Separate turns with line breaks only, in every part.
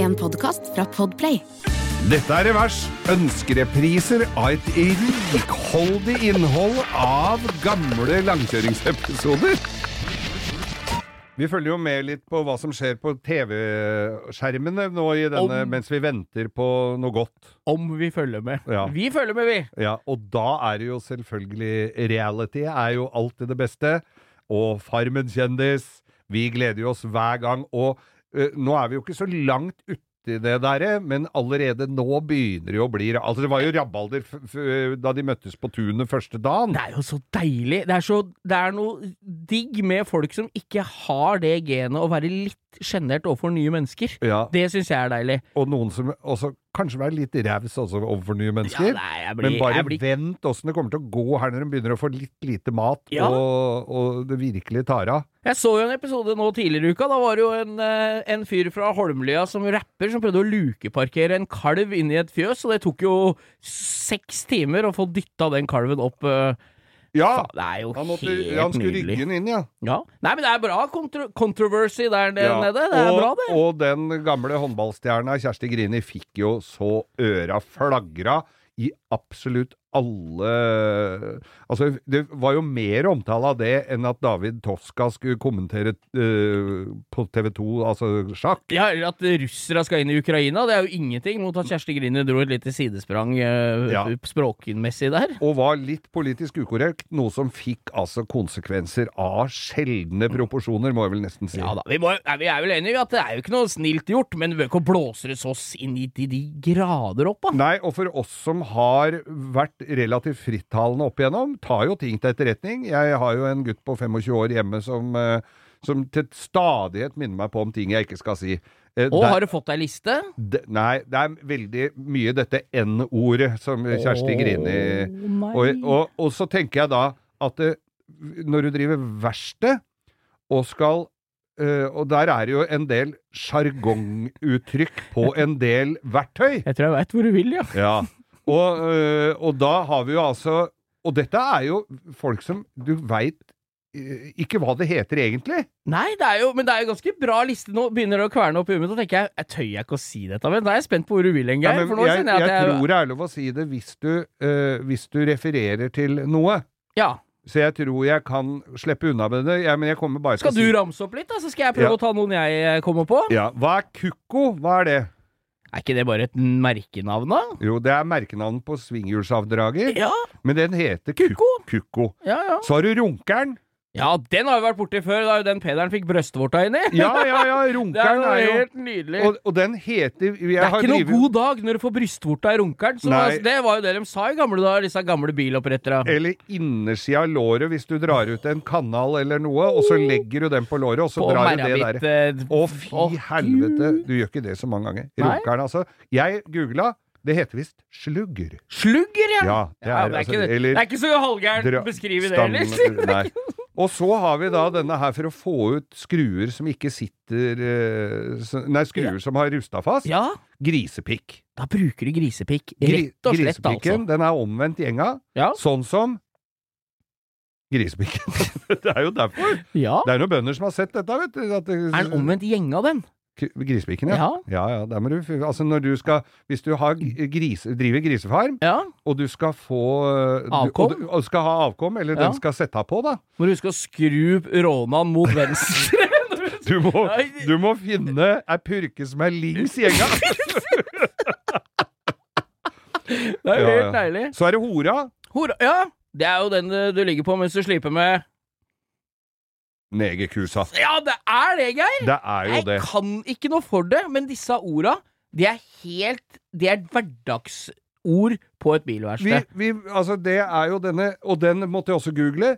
en podkast fra Podplay.
Dette er Revers. Ønskerepriser av et rikholdig innhold av gamle langkjøringsepisoder. Vi følger jo med litt på hva som skjer på TV-skjermene nå i denne,
Om-
mens vi venter på noe godt.
Om vi følger med.
Ja.
Vi følger med, vi!
Ja, og da er det jo selvfølgelig reality er jo alltid det beste. Og Farmen kjendis. Vi gleder jo oss hver gang. Og eh, nå er vi jo ikke så langt uti det der, eh, men allerede nå begynner det jo å bli Altså, det var jo rabalder f f da de møttes på tunet første dagen.
Det er jo så deilig. Det er, så, det er noe digg med folk som ikke har det genet å være litt sjenert overfor nye mennesker.
Ja,
Det syns jeg er deilig.
og noen som også kanskje være litt raus også overfor nye mennesker.
Ja, nei, jeg blir-
men bare
jeg blir-
vent åssen det kommer til å gå her når de begynner å få litt lite mat,
Ja.
og, og det virkelig tar av.
Jeg så jo en episode nå tidligere i uka. Da var det jo en, eh, en fyr fra Holmlia som rapper, som prøvde å lukeparkere en kalv inn i et fjøs, og det tok jo seks timer å få dytta den kalven opp. eh.
Ja!
Faen, Det er jo
Han, måtte,
helt
han skulle
nydelig.
rygge den inn, ja.
Ja. Nei, men det er bra kontro controversy der nede.
Ja,
Det er
og,
bra, det.
Og den gamle håndballstjerna Kjersti Grini fikk jo så øra flagra i absolutt alle Altså, det var jo mer omtale av det enn at David Toska skulle kommentere eh, på TV 2, altså sjakk.
Ja, eller at russere skal inn i Ukraina. Det er jo ingenting mot at Kjersti Grini dro et lite sidesprang eh,
Ja.
språkmessig der.
Og var litt politisk ukorrekt, noe som fikk altså konsekvenser av sjeldne proporsjoner, må jeg vel nesten si.
Ja da, vi, må, nei, vi er vel enige i at det er jo ikke noe snilt gjort, men vi bør ikke blåse det så inn i de, de grader opp, da.
Nei, og for oss som har vært relativt frittalende opp igjennom, tar jo ting til etterretning. Jeg har jo en gutt på 25 år hjemme som, eh, som til stadighet minner meg på om ting jeg ikke skal si. Eh,
Og
der-
har du fått deg liste?
de- nei, det er veldig mye dette N-ordet som Kjersti Grini og, og, og så tenker jeg da at eh, når du driver verksted og skal eh, Og der er det jo en del sjargonguttrykk på en del verktøy.
Jeg tror jeg veit hvor du vil, ja.
Ja. Og, øh, og da har vi jo altså Og dette er jo folk som du veit ikke hva det heter egentlig.
Nei, det er jo, men det er jo ganske bra liste nå. Begynner det å kverne opp i huet, og tenker jeg jeg tør jeg ikke å si dette, men da er jeg spent på hvor du vil en
Ja,
gang.
men
for nå
jeg,
kjenner jeg at jeg,
tror det er lov å si det hvis du, øh, hvis du refererer til noe.
Ja.
Så jeg tror jeg kan slippe unna med det. Jeg, men jeg kommer bare til
Skal du
å si
ramse opp litt, da, så skal jeg prøve
Ja.
å ta noen jeg eh, kommer på?
ja. Hva er kukko? Hva er det?
Er ikke det bare et merkenavn, da?
Jo, det er merkenavn på svinghjulsavdrager,
Ja,
men den heter kuk-
Kukko.
kukko.
ja, ja.
Så har du runkeren.
Ja, den har vi vært borti før, da jo den Pederen fikk brøstvorta inni.
Ja, ja, ja,
Det er
runkeren
jo
er jo
helt nydelig.
Og, og den heter jeg
det er
har
ikke noe
drivet-
god dag når du får brystvorta i runkeren. Så
Nei.
altså, det var jo det de sa i gamle dager, disse gamle bilopprettere.
Eller innersida av låret hvis du drar ut en kanal eller noe, og så legger du den på låret, og så
På
drar du det
merra mitt
der.
eh,
Å, fy
Gud.
helvete! Du gjør ikke det så mange ganger.
Nei.
Runkeren, altså. Jeg googla, det heter visst slugger.
Slugger, ja!
Ja, det
Ja,
er,
det, er
altså,
ikke, det
eller
er ikke så halvgærent å
dra-
beskrive det
stang-
ellers.
Nei. Og så har vi da denne her for å få ut skruer som ikke sitter eh, så- Nei, skruer som har rusta fast.
Ja,
Grisepikk.
da bruker du grisepikk.
Gri-
Rett og slett, altså.
grisepikken, den er omvendt gjenga.
Ja.
Sånn som grisepikken. det er jo derfor.
ja.
Det er noen bønder som har sett dette, vet du. At,
Er den omvendt gjenge av den?
Grisepikken, ja.
Ja.
Ja, ja, der må du, altså når du skal, hvis du har gris, driver grisefarm,
ja.
og du skal få øh, du-
Avkom?
Og, du, og skal ha avkom, eller
Ja.
den skal sette av på, da.
Må du huske å skru rånaen mot venstre.
Du må,
Nei.
du må finne ei purke som er lings gjenga.
Det er
Ja,
jo
ja.
helt deilig.
Så er det hora.
Hora, ja, det er jo den eh, du ligger på mens du sliper med
Negerkusa.
Ja, det er det, Geir!
Det er jo det.
Jeg kan ikke noe for det, men disse orda, de er helt De er hverdagsord på et
Vi,
bilverksted.
vi, altså det er jo denne, og den måtte jeg også google.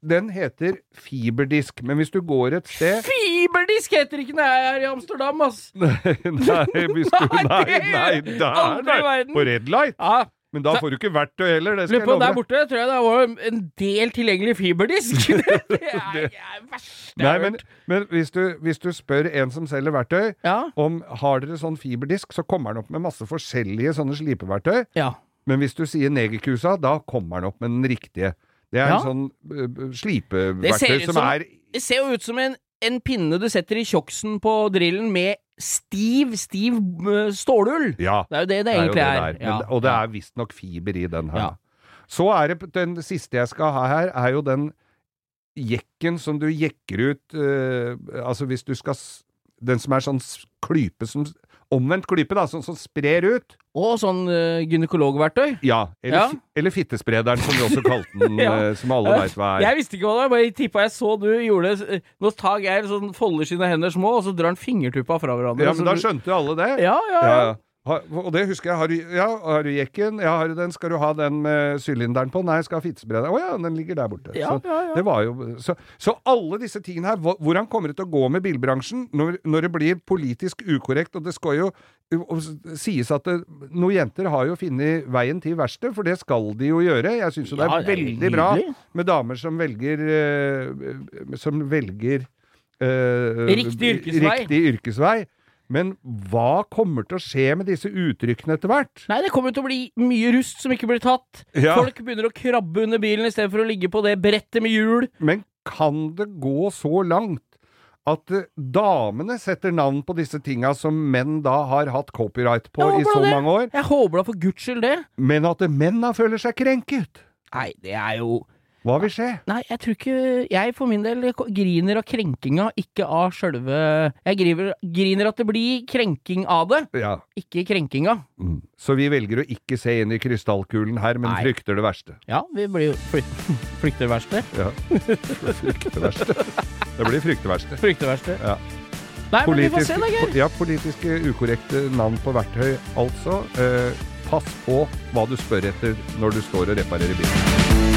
Den heter fiberdisk, men hvis du går et sted
Fiberdisk heter ikke når jeg er i Amsterdam, ass!
Nei, hvis du,
Nei,
nei,
det-
nei, der,
aldri i
nei,
verden.
på red light.
Ja,
Men da får du ikke verktøy heller, det skal jeg
lurer på Der
love deg.
borte tror jeg det var en del tilgjengelig fiberdisk. det er det er verste jeg
Nei,
har
men,
hørt.
men hvis, du, hvis du spør en som selger verktøy
Ja.
om har dere sånn fiberdisk, så kommer han opp med masse forskjellige sånne slipeverktøy.
ja.
Men hvis du sier negerkusa, da kommer han opp med den riktige. Det er
Ja.
en sånn øh, øh,
Det ser
slipeverktøy
ut
som,
som-
er
Det ser jo ut som en en pinne du setter i tjoksen på drillen med stiv, stiv eh, stålull.
Ja.
Det er jo det det
Det er jo
egentlig
det
er.
det er. Men, og det er visstnok fiber i den her.
Ja.
Så er det den siste jeg skal ha her, er jo den jekken som du jekker ut eh, Altså hvis du skal s- Den som er sånn s- klype som s- Omvendt klype, da, sånn som sprer ut.
Og sånn eh, gynekologverktøy.
Ja. Eller,
Ja.
fi- eller fittesprederen, som vi også kalte den,
Ja.
eh, som alle veit hva er.
Jeg visste ikke hva det var, jeg bare tippa jeg så du gjorde det. Nå tar Geir sånn, folder sine hender små, og så drar han fingertuppa fra hverandre.
Ja,
og
men
så
da
blir-
skjønte jo alle det.
ja, ja,
Ja,
ja.
ja. Har- Og det husker jeg. Har du, ja, har du jekken? Ja, har du den? Skal du ha den med sylinderen på? Nei, jeg skal ha fittesprederen. Å ja, den ligger der borte.
Ja,
Så
ja, ja.
Det var jo, så, så alle disse tingene her, hva- hvordan kommer det til å gå med bilbransjen når, når det blir politisk ukorrekt, og det skal jo og s- sies at det, noen jenter har jo funnet veien til verste, for det skal de jo gjøre. Jeg syns jo det er
Ja, det er
veldig
nydelig.
bra med damer som velger eh, Som velger eh,
Riktig yrkesvei.
riktig yrkesvei. Men hva kommer til å skje med disse uttrykkene etter hvert?
Nei, det kommer jo til å bli mye rust som ikke blir tatt.
Ja.
Folk begynner å krabbe under bilen istedenfor å ligge på det brettet med hjul.
Men kan det gå så langt at eh, damene setter navn på disse tinga som menn da har hatt copyright på
Ja,
i
hvordan
så
det?
mange år,
Jeg håper da for guds skyld det.
men at eh, menn da føler seg krenket?
Nei, det er jo
Hva vil skje?
Nei, jeg tror ikke Jeg for min del ko- griner av krenkinga, ikke av sjølve Jeg griver, griner at det blir krenking av det,
Ja.
ikke krenkinga.
Mm. Så vi velger å ikke se inn i krystallkulen her, men
Nei.
frykter det verste.
Ja, vi blir jo flykt, flykteverksted.
Ja. frykter det verste. Det blir frykteverste.
Flykteverksted.
Ja.
Nei, men vi får se da, Geir.
po- ja, politiske ukorrekte navn på verktøy, altså. Eh, pass på hva du spør etter når du står og reparerer bilen.